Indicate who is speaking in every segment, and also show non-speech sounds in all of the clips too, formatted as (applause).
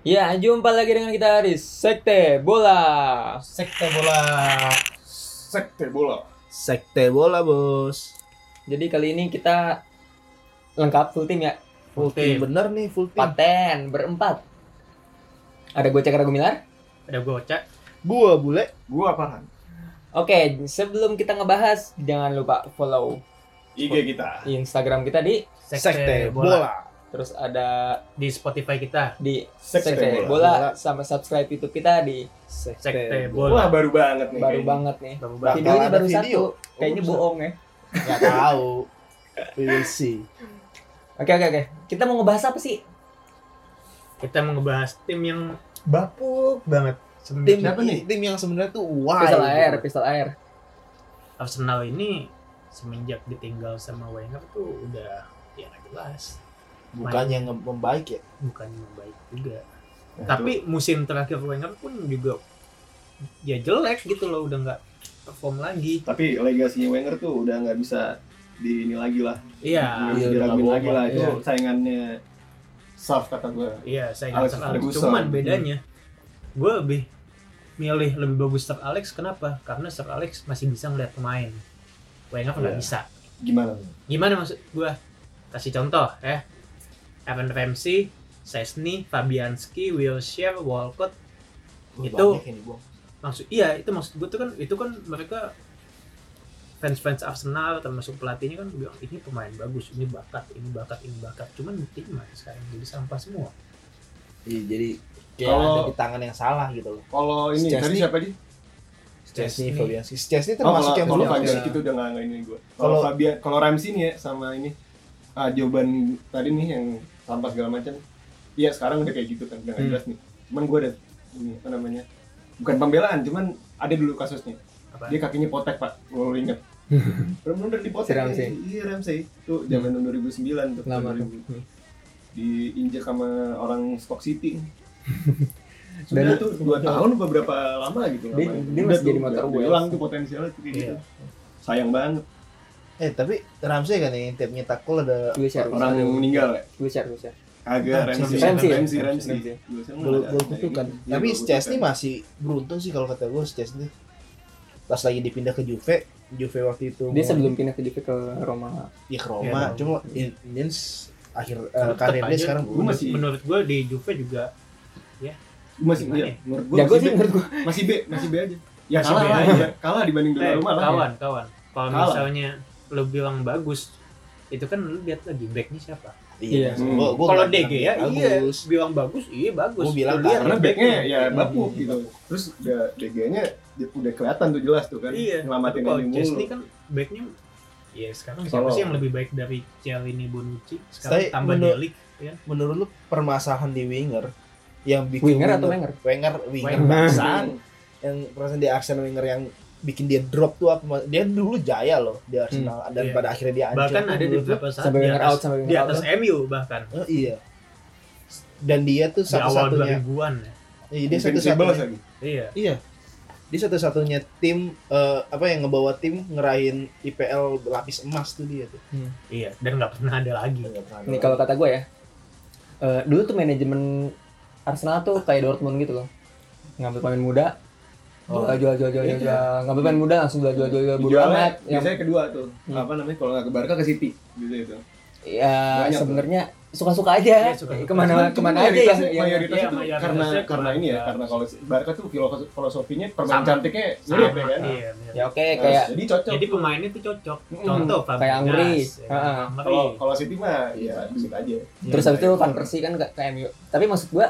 Speaker 1: Ya, jumpa lagi dengan kita di Sekte Bola.
Speaker 2: Sekte bola.
Speaker 3: sekte bola
Speaker 2: Sekte bola, Bos.
Speaker 1: Jadi kali ini kita lengkap full tim ya.
Speaker 2: Full team. Bener nih, full team.
Speaker 1: Paten berempat. Ada gue Cakra Gumilar.
Speaker 4: ada gocek
Speaker 2: Gua bule.
Speaker 3: gua apaan
Speaker 1: Oke, sebelum kita ngebahas, jangan lupa follow
Speaker 3: IG kita
Speaker 1: Instagram kita di
Speaker 4: sekte, bola.
Speaker 1: terus ada
Speaker 4: di Spotify kita
Speaker 1: di
Speaker 3: Sekte
Speaker 1: Sekte, Bola.
Speaker 2: Bola.
Speaker 1: sama subscribe YouTube kita di
Speaker 2: Sekte,
Speaker 4: sekte
Speaker 3: wah
Speaker 4: bola
Speaker 3: baru banget nih
Speaker 1: baru
Speaker 3: kayaknya.
Speaker 1: banget nih.
Speaker 4: Baru
Speaker 2: Bakal
Speaker 4: banget.
Speaker 1: Videonya
Speaker 2: ada
Speaker 1: baru
Speaker 2: video.
Speaker 1: satu. Kayaknya
Speaker 2: bisa.
Speaker 1: bohong ya.
Speaker 2: Gak tahu. We will see.
Speaker 1: Oke, oke, oke. Kita mau ngebahas apa sih?
Speaker 4: kita mau ngebahas tim yang bapuk banget
Speaker 2: Tim
Speaker 4: tim
Speaker 3: Siapa nih?
Speaker 2: Tim yang sebenarnya tuh why.
Speaker 1: Pistol air, pistol air.
Speaker 4: Arsenal ini semenjak ditinggal sama Wenger tuh udah ya nggak jelas
Speaker 2: Bukan yang nge- membaik ya.
Speaker 4: bukan yang baik juga
Speaker 3: Nah,
Speaker 4: tapi musim terakhir Wenger pun juga ya jelek gitu loh udah nggak perform lagi
Speaker 3: itu. tapi legasinya Wenger tuh udah nggak bisa di ini lagi lah
Speaker 4: iya
Speaker 3: Nggak bisa
Speaker 2: iya,
Speaker 3: diraguin
Speaker 2: udah
Speaker 3: lagi
Speaker 2: nggak
Speaker 3: lah itu
Speaker 2: bohong. Iya.
Speaker 3: saingannya Saf kata gua
Speaker 4: iya saya nggak
Speaker 3: Alex
Speaker 4: salah
Speaker 3: Ferguson. Hmm.
Speaker 4: cuman bedanya gue lebih milih lebih bagus Sir Alex kenapa karena Sir Alex masih bisa ngeliat pemain Wenger nggak
Speaker 3: Iya.
Speaker 4: bisa
Speaker 3: gimana
Speaker 4: gimana maksud gua kasih contoh ya Evan Ramsey Sesni Fabianski Wilshere Walcott
Speaker 2: Wah,
Speaker 4: Itu.
Speaker 2: banyak ini, Bang.
Speaker 4: maksud iya itu maksud gua tuh kan itu kan mereka fans fans Arsenal termasuk pelatihnya kan bilang ini pemain bagus ini bakat ini bakat ini bakat cuman buktinya mana sekarang jadi sampah semua
Speaker 2: Iya, jadi kayak
Speaker 3: Kalau-
Speaker 2: ada di tangan yang salah gitu loh.
Speaker 3: kalau ini
Speaker 2: Chesney.
Speaker 3: tadi siapa sih
Speaker 2: Chesney
Speaker 4: Chesney.
Speaker 2: Fabianski. Chesney
Speaker 3: oh,
Speaker 2: termasuk
Speaker 3: kalau
Speaker 2: yang
Speaker 3: kalau
Speaker 2: belum.
Speaker 4: Fabian-
Speaker 3: Fabian
Speaker 4: ya.
Speaker 3: itu udah nggak nggak ini gua kalau
Speaker 2: Iya. Kalau-
Speaker 3: Fabian kalau Ramsey nih ya sama ini ah, jawaban tadi nih yang sampah segala macam iya sekarang udah kayak gitu kan udah nggak
Speaker 2: Hmm.
Speaker 3: jelas nih cuman gua ada ini apa namanya bukan pembelaan cuman ada dulu kasusnya
Speaker 4: apa
Speaker 3: dia kakinya potek pak kalau lu inget
Speaker 1: (laughs)
Speaker 3: bener-bener dipotek
Speaker 1: Si Ramsey.
Speaker 3: iya Ramsey itu zaman 2009 tuh
Speaker 1: Lama tuh.
Speaker 3: 2000. diinjak sama orang Stock
Speaker 1: (laughs)
Speaker 3: City
Speaker 1: Dan-
Speaker 3: sudah tuh
Speaker 1: (laughs)
Speaker 3: dua tahun beberapa lama gitu
Speaker 1: Dia-
Speaker 3: lamanya.
Speaker 1: dia
Speaker 3: Udah
Speaker 1: masih jadi
Speaker 3: tuh,
Speaker 1: motor
Speaker 3: udah
Speaker 1: Wales.
Speaker 3: hilang tuh potensialnya tuh kayak gitu
Speaker 4: Iya.
Speaker 3: sayang banget
Speaker 2: Eh, tapi Ramsey kan yang tiap nyetak gol ada
Speaker 1: Gue share,
Speaker 3: orang yang meninggal ya
Speaker 1: gue share, gue share.
Speaker 3: agak
Speaker 2: Ramsey.
Speaker 3: Ramsey
Speaker 1: Ramsey ya?
Speaker 3: Ramsey
Speaker 1: Ramsey.
Speaker 3: Ramsey
Speaker 2: gol gol kutukan.
Speaker 3: Iya,
Speaker 2: Tapi Chesney masih beruntung sih kalau kata gue Chesney pas lagi dipindah ke Juve, Juve waktu itu
Speaker 1: Dia
Speaker 2: mau-
Speaker 1: sebelum pindah ke Juve ke Roma.
Speaker 2: ya ke Roma,
Speaker 4: Ya,
Speaker 2: cuma in- Indians akhir eh,
Speaker 4: Tapi tetap
Speaker 2: karirnya
Speaker 4: aja, Iya.
Speaker 2: sekarang
Speaker 3: gua masih
Speaker 4: menurut gua di Juve juga
Speaker 3: masih
Speaker 4: Gimana
Speaker 3: iya,
Speaker 4: ya?
Speaker 3: menurut gua
Speaker 1: Jago sih
Speaker 3: masih B.
Speaker 1: menurut gue.
Speaker 3: masih B masih B aja ya
Speaker 4: Masih B
Speaker 3: kalah lah
Speaker 4: aja.
Speaker 3: ya kalah dibanding
Speaker 4: eh,
Speaker 3: dua rumah lah ya.
Speaker 4: kawan kawan kalau
Speaker 3: Kawan.
Speaker 4: misalnya lo bilang bagus itu kan lu lihat lagi backnya siapa
Speaker 1: Iya.
Speaker 2: Gua-
Speaker 3: Hmm.
Speaker 2: gua- gua
Speaker 4: kalau
Speaker 2: nggak
Speaker 4: DG ya
Speaker 2: bilang
Speaker 4: iya
Speaker 2: bagus.
Speaker 4: bilang bagus iya bagus
Speaker 2: Gua bilang
Speaker 4: Lu lihat
Speaker 3: karena
Speaker 4: di
Speaker 3: backnya
Speaker 4: backnya.
Speaker 3: ya
Speaker 2: Iya,
Speaker 1: Hmm.
Speaker 3: bapuk
Speaker 2: iya,
Speaker 3: gitu terus udah DG-nya dia- udah kelihatan tuh jelas tuh kan
Speaker 4: iya
Speaker 3: ngelamatin
Speaker 4: Tapi kalau
Speaker 3: ini
Speaker 4: Chesney
Speaker 3: mulu
Speaker 4: kan backnya ya sekarang siapa
Speaker 3: Kalau-
Speaker 4: sih yang lebih baik dari Cialini Bonucci sekarang
Speaker 2: Saya
Speaker 4: tambah
Speaker 2: menurut-
Speaker 4: Delik ya
Speaker 2: menurut lu permasalahan di winger yang bikin
Speaker 1: Winger
Speaker 3: Hmm.
Speaker 1: atau Wenger?
Speaker 2: Wenger winger
Speaker 4: Wenger.
Speaker 2: bangsaan yang perasaan di Arsenal winger yang bikin dia drop tuh apa dia dulu jaya loh di Arsenal dan
Speaker 4: Iya.
Speaker 2: pada akhirnya dia hancur
Speaker 4: bahkan
Speaker 2: tuh
Speaker 4: ada di
Speaker 2: menurut gua.
Speaker 4: beberapa saat
Speaker 1: Sampai
Speaker 4: di
Speaker 1: Wenger
Speaker 4: atas,
Speaker 1: out, sampai
Speaker 4: di
Speaker 1: Wenger out.
Speaker 4: atas MU bahkan
Speaker 2: Oh, iya dan dia tuh
Speaker 4: di awal
Speaker 2: satu-satunya
Speaker 4: 2000-an ya
Speaker 2: iya, dia
Speaker 3: Invincible
Speaker 2: satu-satunya
Speaker 3: lagi
Speaker 4: iya
Speaker 2: dia satu-satunya tim eh, apa yang ngebawa tim ngerahin IPL lapis emas tuh dia tuh.
Speaker 4: iya dan nggak pernah ada lagi
Speaker 1: Nih kalau kata gue ya, eh, dulu tuh manajemen Arsenal tuh kayak Dortmund gitu loh, ngambil pemain muda,
Speaker 2: Oh.
Speaker 1: jual jual jual jual
Speaker 2: Iya.
Speaker 1: jual, ngambil pemain muda langsung jual jual jual jual bodo
Speaker 3: Jualnya
Speaker 1: amat. Yang,
Speaker 3: biasanya kedua tuh
Speaker 1: Hmm.
Speaker 3: apa namanya kalau nggak ke Barca ke City gitu itu
Speaker 1: ya
Speaker 3: banyak tuh.
Speaker 1: sebenarnya suka suka aja,
Speaker 4: Iya, suka-suka.
Speaker 1: kemana kemana
Speaker 3: ya,
Speaker 1: aja yang, yang
Speaker 3: mayoritas
Speaker 4: Iya,
Speaker 3: itu
Speaker 4: mayoritasnya
Speaker 3: karena
Speaker 4: ke
Speaker 3: karena ini ya
Speaker 4: Barca.
Speaker 3: karena kalau Barca tuh filosofi- filosofinya permain
Speaker 4: Sama.
Speaker 3: cantiknya
Speaker 4: Sama,
Speaker 3: mirip ya kan
Speaker 4: iya, bener.
Speaker 1: ya oke
Speaker 3: Nah,
Speaker 1: kayak
Speaker 3: jadi cocok
Speaker 4: jadi pemainnya tuh cocok
Speaker 3: Mm,
Speaker 4: contoh ya kan?
Speaker 1: kayak Angri. Ha-ha.
Speaker 3: kalau
Speaker 4: Angri
Speaker 3: kalau City mah ya dikit aja
Speaker 1: terus habis itu Van Persie kan ke, ke MU. Tapi maksud gue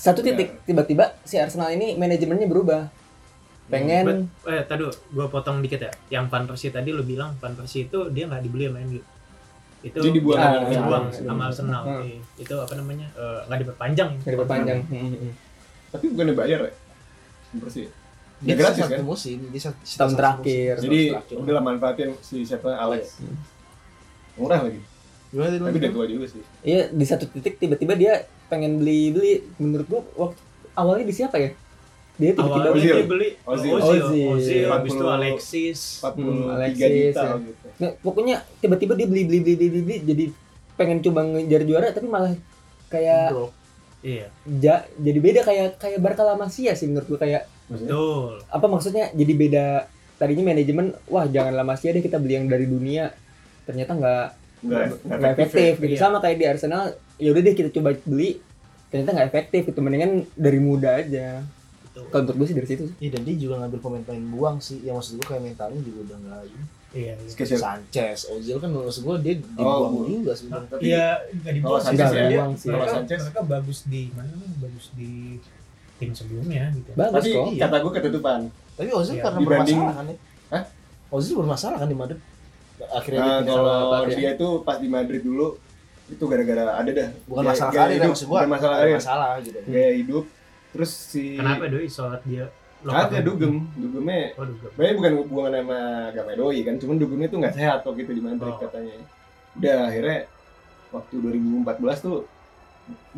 Speaker 1: satu titik
Speaker 3: Iya.
Speaker 1: tiba-tiba si Arsenal ini manajemennya berubah,
Speaker 3: Hmm,
Speaker 1: pengen
Speaker 4: eh tadu gua potong dikit ya yang Van Persie tadi lu bilang Van Persie itu dia nggak dibeli sama MU itu
Speaker 3: Jadi dibuang.
Speaker 4: Ah,
Speaker 3: Ah,
Speaker 4: dibuang
Speaker 1: iya,
Speaker 4: sama
Speaker 1: iya.
Speaker 4: Arsenal
Speaker 1: Hmm.
Speaker 4: Iya. itu apa namanya eh, nggak diperpanjang
Speaker 1: dari perpanjang. Hmm, hmm.
Speaker 3: tapi bukan dibayar ya Bersih.
Speaker 2: dia
Speaker 3: Ya gratis
Speaker 2: satu
Speaker 3: kan.
Speaker 2: musim dia satu, satu-
Speaker 1: Tahun
Speaker 2: satu
Speaker 1: terakhir.
Speaker 2: musim.
Speaker 3: Jadi
Speaker 2: Satu terakhir.
Speaker 3: udahlah manfaatin si siapa Alex.
Speaker 1: Iya.
Speaker 3: Murah lagi.
Speaker 2: gimana tadi
Speaker 3: Tapi udah tua juga sih.
Speaker 1: Iya di satu titik tiba-tiba dia pengen beli beli menurut gua waktu awalnya di siapa ya? Dia tiba-tiba
Speaker 4: awalnya
Speaker 3: Ozil.
Speaker 4: dia beli
Speaker 3: Ozil.
Speaker 4: Ozil Ozil,
Speaker 1: Ozil.
Speaker 4: habis itu
Speaker 3: 40.
Speaker 4: Alexis
Speaker 3: 43
Speaker 1: Alexis,
Speaker 3: juta
Speaker 1: ya.
Speaker 3: gitu.
Speaker 1: Nah, pokoknya tiba-tiba dia beli beli beli beli beli jadi pengen coba ngejar juara tapi malah kayak
Speaker 2: Drop.
Speaker 4: Iya.
Speaker 1: ja- jadi beda kayak kayak Barca La Masia sih menurut gue kayak
Speaker 3: Maksudnya?
Speaker 4: Betul.
Speaker 1: apa maksudnya jadi beda tadinya manajemen wah jangan La Masia deh kita beli yang dari dunia ternyata nggak
Speaker 3: Nggak ya?
Speaker 1: nggak efektif gitu
Speaker 4: Iya.
Speaker 1: sama kayak di Arsenal ya udah deh kita coba beli ternyata nggak efektif itu mendingan dari muda aja
Speaker 4: Betul.
Speaker 1: kalau menurut gue sih dari situ sih.
Speaker 2: Iya dan dia juga ngambil pemain-pemain buang sih. Ya maksud gue kayak mentalnya juga udah nggak ini.
Speaker 4: Iya. iya.
Speaker 3: Sketch ya.
Speaker 2: Sanchez, Ozil kan maksud gue dia
Speaker 3: Oh,
Speaker 2: dibuang
Speaker 3: gua-
Speaker 2: juga sebenarnya.
Speaker 3: Tapi
Speaker 4: Iya, nggak dibuang
Speaker 3: Kalau
Speaker 4: sih.
Speaker 1: Sanchez
Speaker 4: sebenarnya
Speaker 1: ya.
Speaker 4: dia-
Speaker 1: Buang sih.
Speaker 4: mereka,
Speaker 3: Kalau Sanchez-
Speaker 4: mereka bagus di mana namanya? Bagus di tim sebelumnya gitu.
Speaker 1: bagus
Speaker 3: tapi
Speaker 1: kok
Speaker 2: iya.
Speaker 3: kata gue ketutupan.
Speaker 2: Tapi Ozil
Speaker 4: Iya,
Speaker 2: karena
Speaker 3: dibanding-
Speaker 2: bermasalah kan ya.
Speaker 3: Hah?
Speaker 2: Ozil bermasalah kan di Madrid. Akhirnya dia
Speaker 3: Nah,
Speaker 2: pindah
Speaker 3: kalau
Speaker 2: sama Barca.
Speaker 3: dia itu pas di Madrid dulu itu gara-gara ada dah
Speaker 2: bukan
Speaker 3: gaya-
Speaker 2: masalah
Speaker 3: gaya
Speaker 2: karir ya,
Speaker 3: hidup,
Speaker 2: maksud gue.
Speaker 3: bukan masalah karir Iya.
Speaker 2: Masalah gitu.
Speaker 3: gaya hidup terus si
Speaker 4: Kenapa doi sholat dia?
Speaker 3: kagak dugem dugemnya
Speaker 4: Oh, dugem.
Speaker 3: sebenarnya bukan hubungan sama agama doi kan cuman dugemnya tuh nggak sehat waktu itu di Madrid
Speaker 4: Oh.
Speaker 3: katanya udah akhirnya waktu 2014 tuh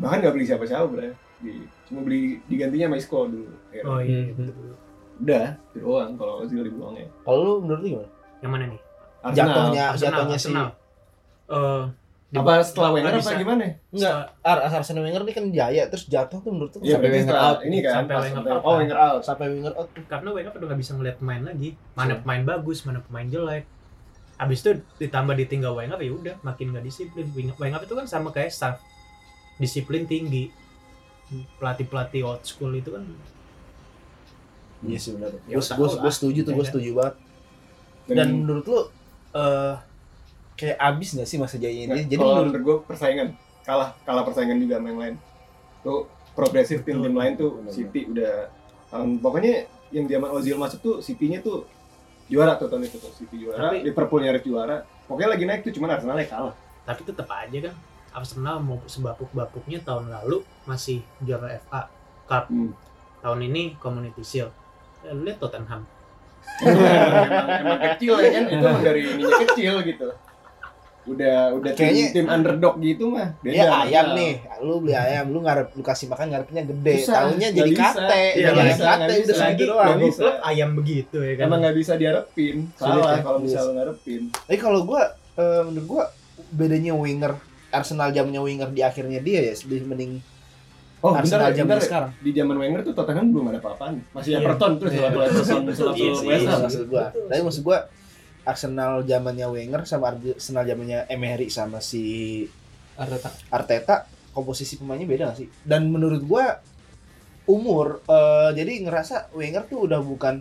Speaker 3: bahkan nggak beli siapa-siapa bro di, cuma beli digantinya sama Isco dulu akhirnya.
Speaker 4: Oh iya,
Speaker 1: Hmm.
Speaker 4: betul, betul.
Speaker 3: udah itu doang kalau Ozil dibuangnya
Speaker 2: Kalau lu menurut lu gimana?
Speaker 4: Yang mana nih?
Speaker 2: Jatuhnya
Speaker 4: Arsenal,
Speaker 2: jatuhnya sih.
Speaker 4: Arsenal. Eh,
Speaker 3: apa setelah Wenger apa
Speaker 4: Bisa.
Speaker 3: gimana Iya,
Speaker 2: Enggak, Ar Arsene Wenger ini kan jaya terus jatuh tuh menurut lu
Speaker 3: Iya,
Speaker 1: Sampai
Speaker 3: berarti
Speaker 1: Wenger
Speaker 3: setelah
Speaker 1: out.
Speaker 3: ini kan
Speaker 4: Sampai
Speaker 3: pas-
Speaker 4: Wenger out.
Speaker 3: oh Wenger out
Speaker 2: sampai Wenger out tuh.
Speaker 4: karena Wenger udah nggak bisa ngeliat pemain lagi mana pemain bagus mana pemain jelek abis itu ditambah ditinggal Wenger ya udah makin nggak disiplin Wenger Wenger itu kan sama kayak staff disiplin tinggi pelatih pelatih old school itu kan
Speaker 2: Iya sih benar.
Speaker 4: Ya,
Speaker 2: Gue
Speaker 4: usaha
Speaker 2: gue
Speaker 4: lah.
Speaker 2: gue setuju tuh, gue
Speaker 4: Iya.
Speaker 2: setuju banget. Dan
Speaker 3: Hmm.
Speaker 2: menurut lu eh kayak abis gak sih masa jayanya dia?
Speaker 3: Nggak,
Speaker 2: Jadi
Speaker 3: kalau
Speaker 2: menurut
Speaker 3: menurut gue persaingan kalah kalah persaingan juga sama yang lain tuh progresif tim tim lain tuh
Speaker 2: Benar-benar.
Speaker 3: City udah um, pokoknya yang zaman Ozil masuk tuh City-nya tuh juara tuh tahun itu tuh City juara
Speaker 4: Tapi-
Speaker 3: Liverpool nyaris juara pokoknya lagi naik tuh cuman Arsenal kalah
Speaker 4: tapi tetap aja kan Arsenal mau sebapuk-bapuknya tahun lalu masih juara FA
Speaker 3: hmm.
Speaker 4: tahun ini Community Shield Ya, lu lihat Tottenham
Speaker 3: (laughs) emang, emang kecil ya kan itu emang dari ininya kecil gitu udah udah
Speaker 2: Kayaknya-
Speaker 3: tim, tim underdog gitu mah beda
Speaker 2: dia ayam
Speaker 3: Arsenal.
Speaker 2: nih, lu beli ayam, lu ngarep lu kasih makan ngarepnya gede,
Speaker 3: Susah,
Speaker 2: tahunya
Speaker 3: nggak
Speaker 2: jadi
Speaker 3: bisa.
Speaker 2: kate,
Speaker 3: Iya,
Speaker 2: jadi
Speaker 4: nggak
Speaker 2: ayam
Speaker 3: bisa,
Speaker 2: kate
Speaker 3: nggak
Speaker 2: udah
Speaker 3: bisa.
Speaker 2: segitu
Speaker 3: Nggak
Speaker 2: doang.
Speaker 3: bisa.
Speaker 4: Goblok, ayam begitu ya kan
Speaker 3: emang nggak bisa diharapin
Speaker 2: Sulit
Speaker 3: salah
Speaker 2: ya,
Speaker 3: kalau bisa
Speaker 2: sulit.
Speaker 3: lo ngarepin
Speaker 2: Tapi kalau gua eh, menurut gua bedanya Wenger Arsenal zamannya Wenger di akhirnya dia ya lebih mending
Speaker 3: oh
Speaker 2: Arsenal
Speaker 3: bentar,
Speaker 2: zamannya
Speaker 3: bentar,
Speaker 2: sekarang.
Speaker 3: di zaman Wenger tuh Tottenham belum ada apa-apaan
Speaker 4: Iya.
Speaker 3: masih Everton terus
Speaker 2: Iya.
Speaker 3: selalu Everton selalu
Speaker 4: Iya sih.
Speaker 3: West
Speaker 2: Iya,
Speaker 3: Ham
Speaker 2: maksud gua.
Speaker 4: Betul.
Speaker 2: Tapi maksud gua Arsenal zamannya Wenger sama Arsenal zamannya Emery sama si
Speaker 1: Arteta
Speaker 2: Arteta komposisi pemainnya beda gak sih? Dan menurut gua umur eh, jadi ngerasa Wenger tuh udah bukan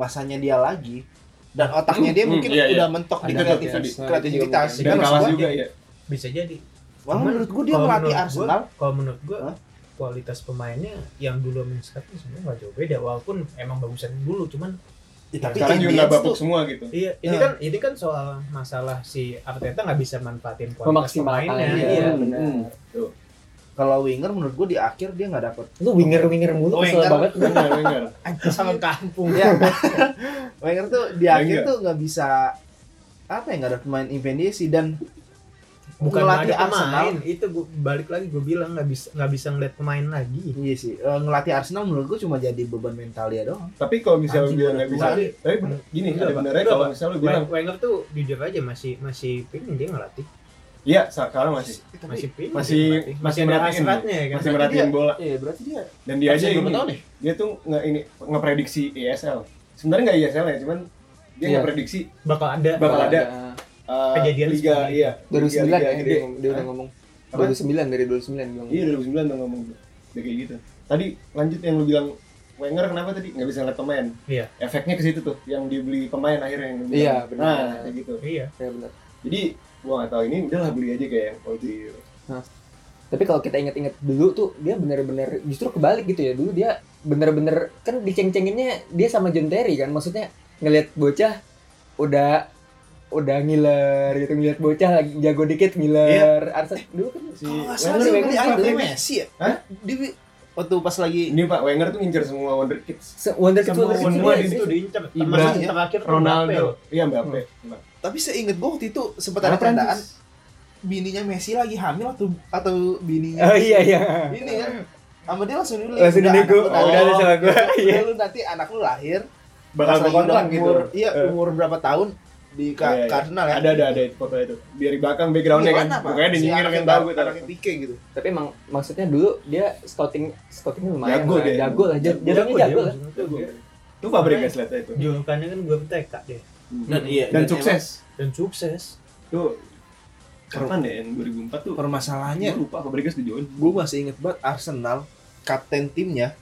Speaker 2: masanya dia lagi dan otaknya dia
Speaker 3: Hmm,
Speaker 2: mungkin
Speaker 3: iya, iya.
Speaker 2: udah mentok di
Speaker 3: Ada
Speaker 2: kreatif-
Speaker 3: kreativitas.
Speaker 4: iya.
Speaker 2: kreativitas.
Speaker 1: Itu juga
Speaker 2: Dan
Speaker 3: dan
Speaker 2: maksud
Speaker 3: kalah
Speaker 2: gua,
Speaker 3: juga ya
Speaker 4: bisa jadi
Speaker 2: malah
Speaker 4: Cuman
Speaker 2: menurut gua dia
Speaker 4: kalau
Speaker 2: melatih
Speaker 4: menurut gua- ya,
Speaker 2: Arsenal
Speaker 4: kalau menurut gua
Speaker 2: Hah?
Speaker 4: kualitas pemainnya yang dulu sama yang sekarang sebenarnya nggak jauh beda walaupun emang bagusan dulu cuman
Speaker 2: Ya, tapi
Speaker 3: sekarang juga
Speaker 2: Indians
Speaker 3: nggak babuk
Speaker 2: tuh-
Speaker 3: semua gitu
Speaker 4: iya ini
Speaker 2: Ya.
Speaker 4: kan ini kan soal masalah si Arteta nggak bisa manfaatin kualitas
Speaker 1: Memaksimalkan,
Speaker 4: pemainnya
Speaker 1: iya.
Speaker 4: iya.
Speaker 1: benar.
Speaker 3: Hmm.
Speaker 2: kalau Wenger menurut gua di akhir dia nggak
Speaker 4: (laughs)
Speaker 2: dapet
Speaker 1: lu winger winger mulu kesel
Speaker 2: Wenger.
Speaker 1: banget
Speaker 3: Wenger Wenger
Speaker 4: sama kampung
Speaker 2: ya (laughs) Wenger tuh di akhir
Speaker 3: Wenger.
Speaker 2: tuh nggak bisa apa ya nggak ada pemain invendisi dan
Speaker 4: bukan nggak
Speaker 2: melatih
Speaker 4: ada
Speaker 2: Arsenal
Speaker 4: pemain itu gua, balik lagi gue bilang nggak bisa nggak bisa ngeliat pemain lagi
Speaker 2: iya sih Eh, ngelatih Arsenal menurut gua cuma jadi beban mental dia doang
Speaker 3: tapi kalau misalnya
Speaker 2: Anjing,
Speaker 3: dia
Speaker 2: udah
Speaker 3: nggak bisa
Speaker 2: tua.
Speaker 4: tapi
Speaker 3: tapi bener- gini
Speaker 4: Enggak, Iya,
Speaker 3: ada
Speaker 4: Pak.
Speaker 3: benernya
Speaker 4: Enggak,
Speaker 3: kalau
Speaker 4: Pak. Iya.
Speaker 3: misalnya lu bilang
Speaker 4: Weng- Wenger tuh jujur aja masih masih pingin dia ngelatih
Speaker 3: iya sekarang masih
Speaker 4: masih pingin
Speaker 3: masih-
Speaker 4: dia ngelatih. masih
Speaker 3: masih
Speaker 4: ada
Speaker 3: merhatiin.
Speaker 4: hasratnya ya kan
Speaker 3: masih merhatiin bola
Speaker 2: Iya berarti dia
Speaker 3: dan dia aja
Speaker 2: belum
Speaker 3: ini
Speaker 2: tahun ya?
Speaker 3: dia tuh nggak ini ngeprediksi ESL sebenarnya nggak ESL ya cuman dia
Speaker 1: Iya.
Speaker 3: ngeprediksi
Speaker 4: bakal ada iya.
Speaker 3: Bakal ada. uh,
Speaker 4: Kejadian
Speaker 3: liga
Speaker 4: seperti itu.
Speaker 3: iya
Speaker 1: dari sembilan ya
Speaker 3: Liga- liga
Speaker 1: dia,
Speaker 3: gede.
Speaker 1: dia udah ngomong
Speaker 3: Apa?
Speaker 1: dari sembilan dari dua sembilan bilang
Speaker 3: Iya 2009 tuh ngomong tuh. Udah kayak gitu. Tadi lanjut yang lu bilang Wenger kenapa tadi nggak bisa ngeliat pemain?
Speaker 4: Iya.
Speaker 3: Efeknya ke situ tuh yang dibeli pemain akhirnya yang lu bilang.
Speaker 1: Iya, benar.
Speaker 3: Nah, kayak gitu.
Speaker 4: iya
Speaker 1: Ya, benar
Speaker 3: Jadi gua nggak tahu ini udahlah beli aja kayak yang Ozil.
Speaker 1: tapi kalau kita ingat-ingat dulu tuh dia bener-bener justru kebalik gitu ya dulu dia bener-bener kan diceng-cenginnya dia sama John Terry kan maksudnya ngelihat bocah udah udah ngiler gitu ngelihat bocah lagi jago dikit ngiler
Speaker 3: Iya.
Speaker 1: Arsenal dulu kan
Speaker 3: Si
Speaker 2: Kalau nggak Oh, salah
Speaker 3: Wenger,
Speaker 2: sih
Speaker 1: Wenger
Speaker 2: beli
Speaker 1: juga
Speaker 2: akhir dari
Speaker 3: ini.
Speaker 2: Messi ya?
Speaker 3: Hah?
Speaker 2: Di waktu pas lagi
Speaker 3: Ini Pak Wenger tuh ngincer semua wonder kids.
Speaker 1: se- wonder Iya, kids
Speaker 3: Semua
Speaker 1: wonder kids
Speaker 3: semua
Speaker 1: dia-
Speaker 3: di situ.
Speaker 4: itu diincar
Speaker 3: Ibra,
Speaker 4: termasuk
Speaker 2: iya.
Speaker 4: terakhir tuh Mbappe.
Speaker 3: Ronaldo, iya Mbappe.
Speaker 2: tapi seinget gua waktu itu sempat ada candaan bininya Messi lagi hamil atau atau bininya
Speaker 1: oh iya iya
Speaker 2: ini kan sama dia langsung dulu
Speaker 3: Iya,
Speaker 1: langsung dinego
Speaker 2: anak lu- kan?
Speaker 1: udah ada
Speaker 3: (laughs)
Speaker 1: sama gue
Speaker 2: udah
Speaker 1: iya
Speaker 2: lu nanti anak lu lahir
Speaker 3: Oh, Bakal
Speaker 2: pas lagi
Speaker 3: berkontak
Speaker 2: umur-
Speaker 3: gitu.
Speaker 2: iya
Speaker 3: Eh.
Speaker 2: umur berapa tahun di Ka-
Speaker 3: Iya, iya.
Speaker 2: Cardinal ya.
Speaker 3: Ada ada ada foto itu. Biar di belakang
Speaker 2: Iya,
Speaker 3: backgroundnya kan. Bukannya dia nyengir kan tahu gue.
Speaker 2: Anaknya Pique gitu.
Speaker 1: Tapi emang maksudnya dulu dia scouting scoutingnya lumayan
Speaker 3: Jago
Speaker 1: lah.
Speaker 3: dia.
Speaker 1: jago lah, jad- jadinya jago kan? lah.
Speaker 3: Itu Fabregas lihat itu.
Speaker 4: Julukannya kan gue TK deh
Speaker 2: Dan iya,
Speaker 3: dan
Speaker 2: dan
Speaker 3: sukses.
Speaker 4: dan sukses.
Speaker 3: Itu kapan deh yang 2004 tuh? Gue
Speaker 2: Permasalahannya
Speaker 3: lupa Fabregas tuh join.
Speaker 2: gue masih inget banget Arsenal kapten timnya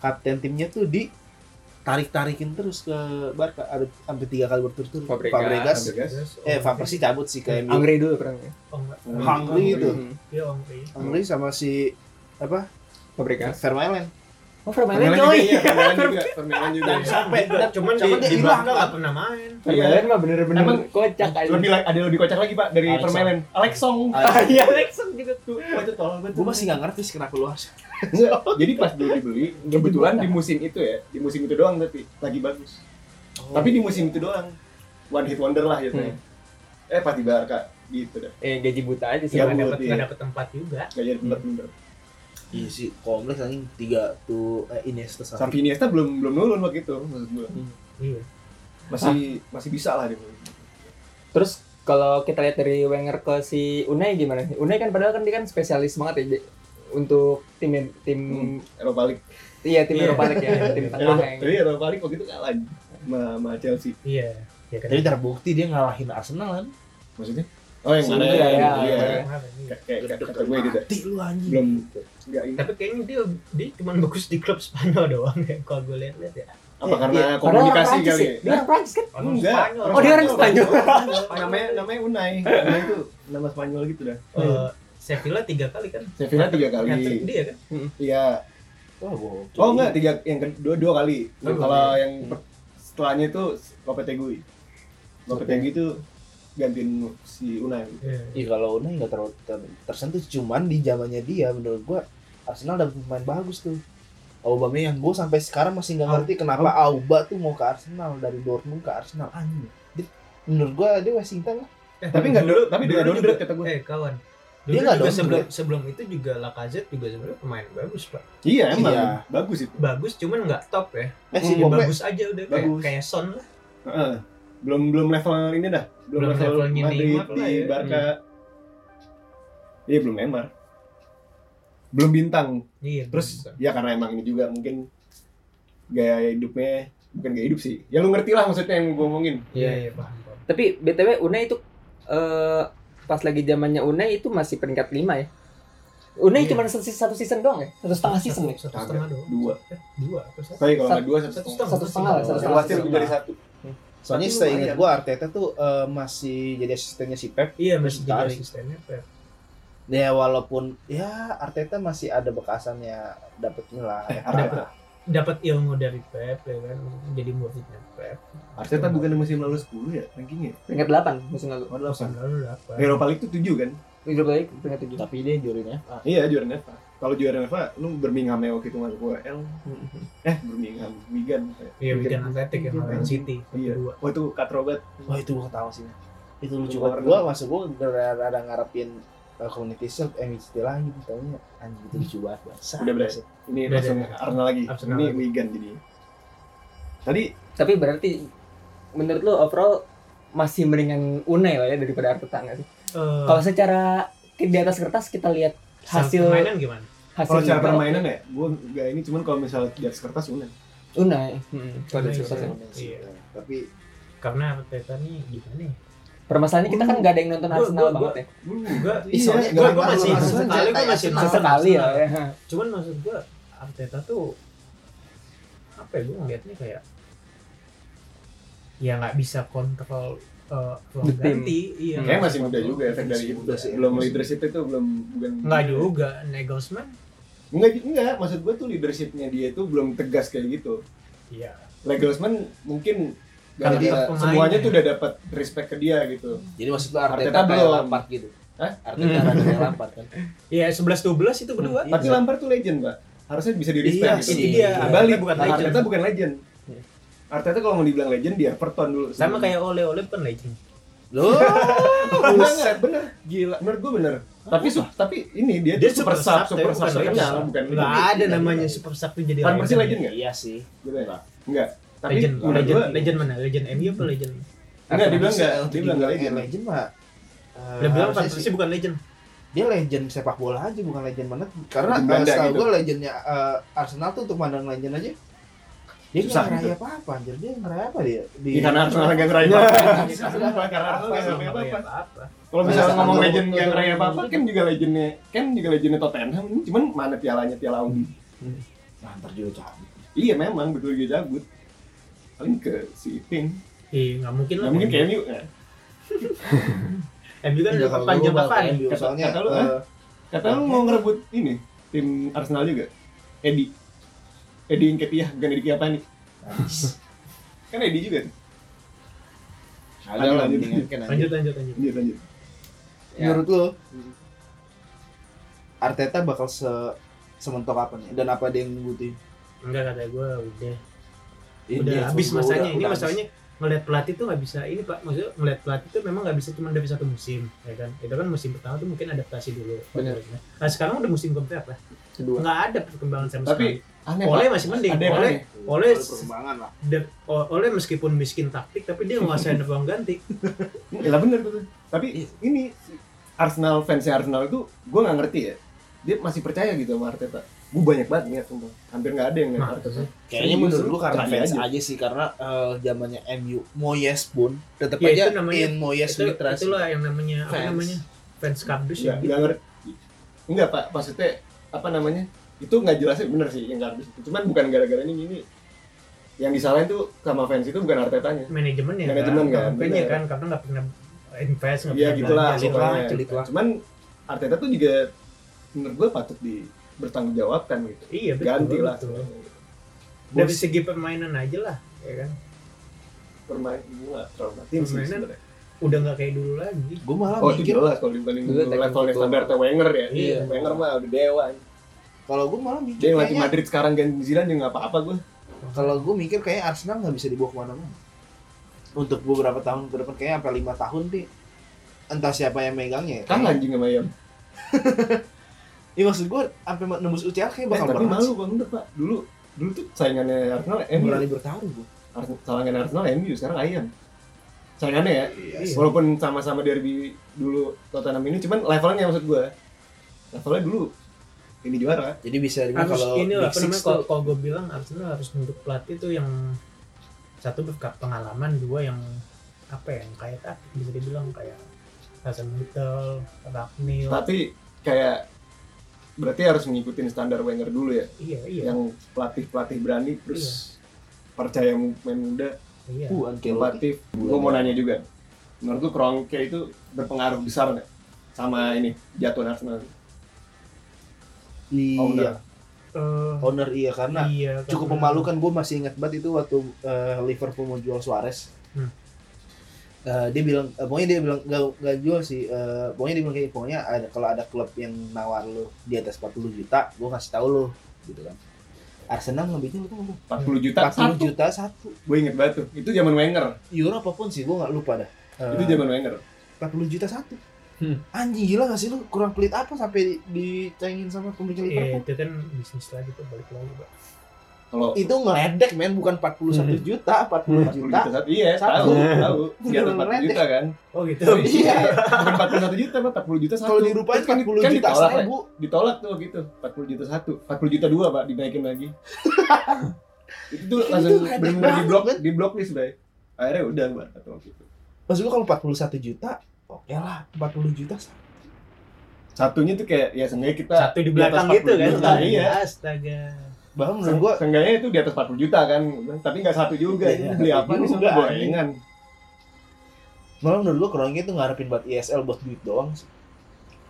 Speaker 2: kapten timnya tuh di tarik-tarikin terus ke Barca ada sampai tiga kali berturut-turut
Speaker 1: Fabregas.
Speaker 3: Fabregas.
Speaker 2: eh Van Persie cabut sih ke MU
Speaker 1: Angri dulu pernah. ya?
Speaker 4: Oh enggak.
Speaker 2: Hungry itu
Speaker 1: Hmm.
Speaker 4: Iya, Ongri.
Speaker 2: Angri sama si apa
Speaker 1: Fabregas.
Speaker 2: Vermaelen
Speaker 1: Oh, Vermaelen coy.
Speaker 3: Permainan juga, iya, permainan juga, permainan juga.
Speaker 2: Dan sampai-
Speaker 4: Iya. Juga, Iya, cuman
Speaker 2: cuman
Speaker 4: di,
Speaker 2: dia
Speaker 4: di
Speaker 2: hilang,
Speaker 4: Belanda
Speaker 2: kan?
Speaker 4: nggak pernah main.
Speaker 1: Vermaelen mah Iya, kan? bener-bener
Speaker 3: Emang-
Speaker 1: kocak aja.
Speaker 3: Lebih la- ada lebih kocak lagi Pak dari
Speaker 2: Alex Song.
Speaker 3: permainan. Alex Song.
Speaker 1: Ah, (laughs) Iya, Lexon juga tuh.
Speaker 3: Wah, itu tolong banget.
Speaker 2: gue masih nggak ngerti sih kenapa lu harus
Speaker 3: Enggak, jadi pas dulu dibeli, kebetulan di musim itu ya, di musim itu doang tapi lagi bagus. Tapi di musim itu doang, one hit wonder lah gitu. ya. Eh pas di Barca gitu dah,
Speaker 1: Eh, gaji buta aja sih.
Speaker 3: Iya,
Speaker 1: Bang.
Speaker 4: Nggak
Speaker 3: Bu.
Speaker 4: dapet
Speaker 3: iya.
Speaker 4: nggak dapet tempat juga.
Speaker 3: gak jadi tempat bener.
Speaker 2: iya sih kompleks anjing tiga tuh eh, Iniesta sama
Speaker 3: Sampai Iniesta belum belum nurun waktu itu maksud gua.
Speaker 1: Hmm.
Speaker 4: Iya.
Speaker 3: Masih masih bisa lah dia.
Speaker 1: Terus kalau kita lihat dari Wenger ke si Unai gimana? Unai kan padahal kan dia kan spesialis banget ya di- untuk tim tim
Speaker 3: Hmm. Eropa League.
Speaker 1: iya tim
Speaker 4: Iya.
Speaker 1: Eropa League (laughs) ya, tim tengah
Speaker 3: Eropa-
Speaker 1: yang
Speaker 3: Tapi Iya. Eropa League waktu itu kalah sama, sama Chelsea.
Speaker 4: Iya. Iya kan.
Speaker 2: tapi terbukti dia ngalahin Arsenal kan
Speaker 3: Maksudnya? Oh yang
Speaker 1: Sebenarnya,
Speaker 3: mana?
Speaker 1: ya.
Speaker 3: Iya.
Speaker 4: Iya.
Speaker 3: Kayak kayak kata gue gitu.
Speaker 2: mati lu anjing
Speaker 3: Belum enggak ini.
Speaker 4: Tapi kayaknya dia dia cuma bagus di klub Spanyol doang ya kalau gue lihat-lihat ya.
Speaker 3: Apa
Speaker 2: Iya,
Speaker 3: karena
Speaker 2: iya.
Speaker 1: Padahal orang
Speaker 3: komunikasi
Speaker 1: Prancis
Speaker 3: kali?
Speaker 1: ya?
Speaker 3: ya?
Speaker 1: Dia orang Prancis kan?
Speaker 4: Orang
Speaker 3: Enggak.
Speaker 4: Spanyol.
Speaker 1: Oh, dia orang Spanyol.
Speaker 3: (laughs) namanya namanya Unai. Unai itu nama Spanyol gitu dah.
Speaker 4: Eh, Sevilla tiga kali kan.
Speaker 3: Sevilla tiga kali.
Speaker 4: Hat-trick dia kan.
Speaker 3: Iya.
Speaker 2: wah bohong
Speaker 3: Oh enggak tiga yang kedua dua kali.
Speaker 4: Dua
Speaker 3: Kalau yang per- setelahnya itu Lopetegui. Lopetegui itu gantiin si Unai.
Speaker 4: Iya.
Speaker 2: Iya kalau Unai nggak terlalu ter- tersentuh cuman di zamannya dia menurut gua Arsenal dapat pemain bagus tuh. Aubameyang gua sampai sekarang masih nggak
Speaker 4: Au-
Speaker 2: ngerti kenapa Auba tuh mau ke Arsenal dari Dortmund ke Arsenal anjing. Dia- menurut gua dia Washington lah.
Speaker 4: Eh,
Speaker 3: Tapi enggak dulu, tapi dia
Speaker 4: dulu
Speaker 3: dulu
Speaker 4: juga-
Speaker 3: kata gue.
Speaker 4: Eh kawan.
Speaker 2: Dia
Speaker 4: Dulu
Speaker 2: nggak
Speaker 4: juga
Speaker 2: dong,
Speaker 4: sebelum sebelum itu juga Lacazette juga sebenarnya pemain bagus pak.
Speaker 3: Iya emang
Speaker 2: Iya.
Speaker 3: bagus itu.
Speaker 4: Bagus cuman nggak top ya.
Speaker 2: Eh si
Speaker 3: Hmm,
Speaker 4: Dia
Speaker 2: Pope
Speaker 4: bagus aja udah kayak
Speaker 3: Bagus.
Speaker 4: kayak Son lah.
Speaker 3: Heeh. Belum belum level ini dah.
Speaker 4: Belum level Neymar
Speaker 3: Madrid
Speaker 4: lah
Speaker 3: di
Speaker 4: ya.
Speaker 3: Barca. Iya belum Neymar. Belum bintang.
Speaker 4: Iya.
Speaker 3: Terus ya karena emang ini juga mungkin gaya hidupnya bukan gaya hidup sih. Ya lu ngerti lah maksudnya yang gue ngomongin.
Speaker 4: Iya iya paham. paham.
Speaker 1: Tapi BTW Unai itu eh pas lagi zamannya Unai itu masih peringkat 5 ya. Unai
Speaker 4: Iya.
Speaker 1: cuma satu, satu season doang ya? Satu setengah season ya?
Speaker 4: Satu setengah doang.
Speaker 3: Dua.
Speaker 4: Eh, Dua atau satu?
Speaker 3: Tapi kalau nggak dua
Speaker 4: Satu
Speaker 3: satu setengah.
Speaker 4: setengah.
Speaker 1: Satu setengah lah, satu
Speaker 3: Yang
Speaker 1: setengah.
Speaker 3: pasti lebih dari satu.
Speaker 2: Soalnya
Speaker 3: Tapi
Speaker 2: saya
Speaker 3: lumayan.
Speaker 2: ingat gua Arteta tuh eh, masih jadi asistennya si Pep.
Speaker 4: Iya masih
Speaker 2: Terus
Speaker 4: jadi
Speaker 2: tarik.
Speaker 4: asistennya Pep.
Speaker 2: Ya walaupun ya Arteta masih ada bekasannya dapetnya lah. ya.
Speaker 3: Arteta.
Speaker 4: Dapat ilmu dari Pep ya kan. Jadi muridnya Pep.
Speaker 3: Arteta bukan di musim lalu 10 ya rankingnya.
Speaker 1: Peringkat 8 musim lalu.
Speaker 3: Oh,
Speaker 4: Musim lalu dapat.
Speaker 3: Eropa League tuh 7 kan?
Speaker 1: Liga balik peringkat 7.
Speaker 2: Tapi dia jurinya
Speaker 3: Iya, juara UEFA. Kalau juara UEFA, lu Birmingham ya waktu itu masuk UEL. Eh, Birmingham, Wigan.
Speaker 4: Iya Wigan Athletic yang
Speaker 3: Wigan.
Speaker 4: lawan City.
Speaker 3: Iya.
Speaker 4: Kedua.
Speaker 3: Oh, itu katrobat.
Speaker 2: Wah itu gua ketawa sih. Itu lucu
Speaker 3: Keluar
Speaker 2: banget. Gua masuk gua rada ngarepin uh, community shield MCT lagi ditanya anjing itu lucu banget. Bangsa.
Speaker 3: Udah berhasil. Ini
Speaker 4: Udah,
Speaker 3: langsung
Speaker 2: ya.
Speaker 4: udah.
Speaker 3: Arsenal lagi.
Speaker 4: Arsenal
Speaker 3: Ini
Speaker 4: lagi.
Speaker 3: Wigan jadi. Tadi
Speaker 1: Tapi berarti menurut lu overall masih mendingan Unai lah ya daripada Arteta nggak sih?
Speaker 4: Eh,
Speaker 1: Kalau secara ke- di atas kertas kita lihat hasil
Speaker 4: permainan gimana?
Speaker 1: hasil
Speaker 3: kalau cara
Speaker 1: Liga,
Speaker 3: permainan ya, gua enggak ini cuman kalau misalnya di atas kertas udah.
Speaker 1: Unai. Hmm, kalau di atas
Speaker 4: Unai
Speaker 1: kertas ya.
Speaker 4: sih.
Speaker 2: Iya. Tapi
Speaker 4: Karena Arteta nih gimana ya?
Speaker 1: Permasalahannya kita kan nggak ada yang nonton
Speaker 4: Gua-
Speaker 1: Arsenal
Speaker 4: gua- gua-
Speaker 1: banget ya.
Speaker 3: (laughs)
Speaker 4: Enggak,
Speaker 2: Ih,
Speaker 3: Iya,
Speaker 2: soalnya
Speaker 4: gue
Speaker 2: gak
Speaker 4: masih
Speaker 2: langsung
Speaker 4: sesekali gue
Speaker 2: kayak
Speaker 4: masih
Speaker 2: Arsenal.
Speaker 4: nonton
Speaker 1: Sesekali ya.
Speaker 4: Arsenal.
Speaker 1: ya.
Speaker 4: Cuman maksud gue Arteta tuh apa ya gue ngeliatnya kayak ya nggak bisa kontrol eh, ruang
Speaker 1: The team.
Speaker 4: ganti, iya.
Speaker 3: Kayaknya masih muda juga efek dari itu.
Speaker 2: Muda sih.
Speaker 3: Belum leadership itu belum bukan
Speaker 4: Nggak juga, Nagelsmann,
Speaker 3: Enggak, enggak. Maksud gua tuh leadershipnya dia itu belum tegas kayak gitu.
Speaker 4: iya.
Speaker 3: Legosman mungkin gak
Speaker 4: Kalau
Speaker 3: ada-
Speaker 4: dapat pemain
Speaker 3: semuanya
Speaker 4: ya.
Speaker 3: tuh udah dapat respect ke dia gitu.
Speaker 2: jadi maksud lu
Speaker 3: Arteta
Speaker 2: Arteta,
Speaker 3: belum.
Speaker 2: kayak Lampard gitu.
Speaker 3: Hah?
Speaker 2: Arteta
Speaker 1: Hmm.
Speaker 2: rada kayak Lampard kan.
Speaker 4: Iya 11-12 itu berdua.
Speaker 2: Iya.
Speaker 3: Tapi Lampard tuh legend, Pak. Harusnya bisa di respect
Speaker 2: Iya
Speaker 3: gitu.
Speaker 2: sih.
Speaker 4: Itu dia.
Speaker 2: Iya.
Speaker 3: Kembali
Speaker 4: Arteta Nah, bukan legend.
Speaker 3: Nah, Arteta bukan legend. Arteta kalau mau dibilang legend dia Everton dulu.
Speaker 4: Sama kayak Ole Ole bukan legend.
Speaker 2: Loh,
Speaker 3: bener, bener, bener. Gila, menurut gue bener. Tapi su- tapi ini dia, tuh super sub, super sub Nah, terkenal bukan
Speaker 4: Nggak
Speaker 3: legend.
Speaker 4: ada
Speaker 2: Iya,
Speaker 4: namanya
Speaker 2: iya.
Speaker 4: super sub tuh jadi
Speaker 3: Van Persie legend enggak?
Speaker 2: iya sih.
Speaker 3: Gitu ya. Enggak. Tapi
Speaker 4: Legend,
Speaker 3: menurut
Speaker 4: legend,
Speaker 3: gue
Speaker 4: legend mana? Legend MU apa legend?
Speaker 3: Enggak, dia bilang
Speaker 2: Bisa,
Speaker 3: enggak.
Speaker 2: untuk
Speaker 3: Dia bilang enggak
Speaker 2: dibilang, eh,
Speaker 3: legend.
Speaker 2: legend mah. eh,
Speaker 4: Dia bilang
Speaker 2: harusnya
Speaker 4: Van
Speaker 2: sih-
Speaker 4: Persie bukan legend.
Speaker 2: dia legend sepak bola aja bukan legend mana karena
Speaker 3: Legend Belanda
Speaker 2: setahu
Speaker 3: gitu.
Speaker 2: gue legendnya eh, Arsenal tuh untuk mandang legend aja dia nggak
Speaker 3: Susah gitu.
Speaker 2: ngeraih apa apa anjir dia ngeraih apa dia di
Speaker 3: Di karena Arsenal nggak ngeraih
Speaker 2: Iya.
Speaker 3: apa-apa.
Speaker 2: Iya.
Speaker 3: (laughs) Kenapa? Karena Arsenal nggak
Speaker 4: Arsenal
Speaker 3: ngeraih
Speaker 4: nggak
Speaker 3: apa-apa.
Speaker 4: kayak apa-apa.
Speaker 3: Kalau misalnya
Speaker 2: Masa
Speaker 3: ngomong
Speaker 2: Arsenal
Speaker 3: legend
Speaker 2: nggak
Speaker 3: yang
Speaker 2: ngeraih
Speaker 3: ngeraih apa-apa, kan juga legendnya, kan juga legendnya Tottenham. Ini cuman mana pialanya piala Audi.
Speaker 2: nah, ntar juga cabut
Speaker 3: Iya memang betul dia cabut. Paling ke si Ping.
Speaker 4: Iya, nggak mungkin lah.
Speaker 3: Ya mungkin kayak MU. ya.
Speaker 4: MU kan
Speaker 2: Nggak,
Speaker 4: udah
Speaker 2: kalau
Speaker 4: panjang
Speaker 2: gua bakal
Speaker 4: bahkan.
Speaker 2: MU,
Speaker 3: Kata-
Speaker 2: soalnya
Speaker 3: kata lu,
Speaker 2: eh,
Speaker 3: Kata lu mau ngerebut ini tim Arsenal juga. Edi. Edi Nketiah bukan Edi (laughs) Kiapani. Kan Edi juga. tuh.
Speaker 2: ada lah
Speaker 3: Lanjut,
Speaker 2: mendingan kan
Speaker 4: Lanjut, lanjut, lanjut.
Speaker 3: Lanjut lanjut.
Speaker 2: Ya. menurut lo Arteta bakal se sementok apa nih dan apa dia yang butuhin
Speaker 4: Enggak kata gue udah
Speaker 2: Ini
Speaker 4: udah
Speaker 2: dia,
Speaker 4: habis
Speaker 2: gua
Speaker 4: masanya.
Speaker 2: udah-
Speaker 4: Ini
Speaker 2: udah habis.
Speaker 4: masalahnya ngelihat pelatih tuh nggak bisa ini pak maksudnya ngelihat pelatih tuh memang nggak bisa cuma dari satu musim ya kan itu kan musim pertama tuh mungkin adaptasi dulu
Speaker 1: Bener.
Speaker 4: nah sekarang udah musim keberapa
Speaker 1: kedua
Speaker 4: nggak ada perkembangan sama sekali
Speaker 3: Tapi aneh
Speaker 4: Oleh
Speaker 3: Pak.
Speaker 4: masih mending
Speaker 3: Ada yang
Speaker 4: Oleh
Speaker 3: aneh.
Speaker 4: Oleh
Speaker 2: Iya, Ada perkembangan lah
Speaker 4: dan O- oleh meskipun miskin taktik tapi dia
Speaker 2: (laughs)
Speaker 4: menguasai ruang ganti
Speaker 2: Iya,
Speaker 3: Ya lah bener tuh. Tapi ini Arsenal fans Arsenal itu gue nggak ngerti ya. Dia masih percaya gitu sama Arteta. Gue banyak banget ngeliat sumpah. Hampir nggak ada yang ngeliat
Speaker 4: Nah,
Speaker 3: Arteta.
Speaker 2: Kayaknya
Speaker 3: Serius,
Speaker 2: menurut
Speaker 3: lu
Speaker 2: gua karena
Speaker 3: percaya
Speaker 2: fans aja.
Speaker 3: aja.
Speaker 2: sih karena eh, zamannya MU Moyes pun tetap
Speaker 4: Ya,
Speaker 2: aja
Speaker 4: itu namanya-
Speaker 2: in Moyes
Speaker 4: itu
Speaker 2: with Iya, trust.
Speaker 4: itulah yang namanya apa
Speaker 2: Fans.
Speaker 4: namanya fans kardus
Speaker 2: Iya,
Speaker 3: Nggak
Speaker 4: ya
Speaker 3: nggak ngerti. Enggak pak. Maksudnya apa namanya? Itu nggak jelasnya bener sih yang Gardus. itu. Cuman bukan gara-gara ini ini. Yang disalahin tuh sama fans itu bukan Artetanya.
Speaker 4: manajemen ya
Speaker 3: Manajemen kan,
Speaker 4: Makanya
Speaker 3: bener.
Speaker 4: kan karena nggak pernah invest nggak
Speaker 3: Iya
Speaker 4: pernah
Speaker 3: gitulah
Speaker 4: belanja,
Speaker 2: gitu lah,
Speaker 3: pokoknya.
Speaker 2: gitu lah.
Speaker 3: Cuman Arteta tuh juga menurut gue patut di bertanggungjawabkan gitu.
Speaker 4: iya betul,
Speaker 3: Ganti lah.
Speaker 4: betul.
Speaker 3: semuanya.
Speaker 4: dari
Speaker 3: Bos.
Speaker 4: segi permainan aja lah ya kan
Speaker 3: Permain gue nggak terlalu perhatiin sih
Speaker 4: Permainan.
Speaker 3: sebenarnya.
Speaker 4: udah nggak kayak dulu lagi
Speaker 2: Gue malah
Speaker 3: Oh itu
Speaker 2: mikir
Speaker 3: jelas kalau dibanding
Speaker 1: Dulu teknik
Speaker 3: levelnya
Speaker 1: itu.
Speaker 3: standar atau Wenger ya.
Speaker 4: Iya.
Speaker 3: Wenger mah udah dewa.
Speaker 2: kalau gue malah mikir
Speaker 3: Dia yang latih
Speaker 2: kayaknya-
Speaker 3: Madrid sekarang ganti Zidane juga nggak apa-apa gue.
Speaker 2: kalau gue mikir kayak Arsenal nggak bisa dibawa kemana-mana untuk beberapa tahun ke depan kayaknya sampai lima tahun deh entah siapa yang megangnya
Speaker 3: Kan anjing sama Yam.
Speaker 2: ya maksud gue sampai nembus UCL kayak
Speaker 3: Eh,
Speaker 2: bakal
Speaker 3: tapi
Speaker 2: berat
Speaker 3: malu
Speaker 2: sih.
Speaker 3: bang bener pak. Dulu dulu tuh saingannya Arsenal
Speaker 4: Iya.
Speaker 3: MU.
Speaker 2: berani bertaruh gue
Speaker 3: Arsenal- Saingannya Arsenal MU sekarang Ayam. Saingannya ya.
Speaker 4: Iya.
Speaker 3: Walaupun sama-sama derby dulu Tottenham ini cuman levelnya maksud gue. Levelnya dulu ini
Speaker 4: Iya.
Speaker 3: juara.
Speaker 2: jadi bisa dibilang
Speaker 4: harus
Speaker 2: kalau
Speaker 4: ini
Speaker 2: Big
Speaker 4: lah apa
Speaker 2: Six
Speaker 4: namanya kalau
Speaker 2: tuh
Speaker 4: kalau gue bilang Arsenal harus nunjuk pelatih tuh yang satu berkat pengalaman dua yang apa ya, yang kayak taktik bisa dibilang kayak Hasan Mittel, Ragnil,
Speaker 3: Tapi kayak berarti harus ngikutin standar Wenger dulu ya.
Speaker 4: iya iya
Speaker 3: Yang pelatih-pelatih berani terus percaya main muda
Speaker 4: iya
Speaker 2: uh, Ancelotti
Speaker 3: Relatif. Gue mau nanya juga. Menurut lu Kroenke itu berpengaruh besar nggak sama ini jatuh Arsenal?
Speaker 2: iya
Speaker 3: Owner.
Speaker 4: Eh,
Speaker 2: owner iya karena
Speaker 4: iya,
Speaker 2: cukup
Speaker 4: karena-
Speaker 2: memalukan gue masih ingat banget itu waktu eh, Liverpool mau jual Suarez
Speaker 4: Hmm.
Speaker 2: Eh, dia bilang eh, pokoknya dia bilang gak, gak jual sih Eh, pokoknya dia bilang kayak pokoknya ada kalau ada klub yang nawar lu di atas 40 juta gue kasih tahu lu gitu kan Arsenal ngebikin itu
Speaker 3: 40 juta.
Speaker 2: 40 juta satu
Speaker 3: Gue inget banget tuh. Itu zaman Wenger.
Speaker 2: euro apapun sih gue nggak lupa dah Eh,
Speaker 3: Itu zaman Wenger.
Speaker 2: 40 juta satu
Speaker 1: Hmm.
Speaker 2: anjing gila gak sih lu kurang pelit apa sampai di- dicengin sama pemilik
Speaker 4: Iya,
Speaker 2: Liverpool
Speaker 4: itu kan bisnis lagi tuh balik lagi pak
Speaker 3: Kalau
Speaker 2: itu ngeledek men bukan 41
Speaker 3: Hmm.
Speaker 2: juta 40
Speaker 3: 40
Speaker 2: juta
Speaker 3: juta satu. Iya,
Speaker 2: Satu.
Speaker 3: tahu,
Speaker 2: (laughs)
Speaker 3: tahu. Di atas 40 juta kan.
Speaker 4: oh gitu
Speaker 3: Iya. Bukan 41 juta, Pak. 40 juta satu.
Speaker 2: kalau dirupain
Speaker 3: Kan-
Speaker 2: 40
Speaker 3: kan
Speaker 2: juta
Speaker 3: ditolak,
Speaker 2: seribu
Speaker 3: Ditolak tuh gitu. 40 juta satu. 40 juta dua, Pak, dinaikin
Speaker 2: (laughs)
Speaker 3: lagi. itu tuh
Speaker 2: Itu
Speaker 3: langsung
Speaker 2: hebat
Speaker 3: benar-benar di blok,
Speaker 2: banget.
Speaker 3: di blok list, Bay. Akhirnya udah, Pak, atau gitu.
Speaker 2: maksud gua kalau 41 juta oke lah 40 juta
Speaker 3: Satunya tuh kayak ya seenggaknya kita
Speaker 4: satu di belakang
Speaker 3: atas
Speaker 4: gitu
Speaker 3: 40
Speaker 4: kan
Speaker 3: juta, iya.
Speaker 4: astaga
Speaker 2: bahkan menurut
Speaker 3: Seng-
Speaker 2: gua
Speaker 3: Seenggaknya itu di atas 40 juta kan, tapi nggak satu juga.
Speaker 2: Iya,
Speaker 3: Beli apa
Speaker 2: iya
Speaker 3: nih
Speaker 2: juga,
Speaker 3: sama gorengan?
Speaker 2: malah menurut gua kerongnya itu ngarepin buat ISL buat duit doang sih.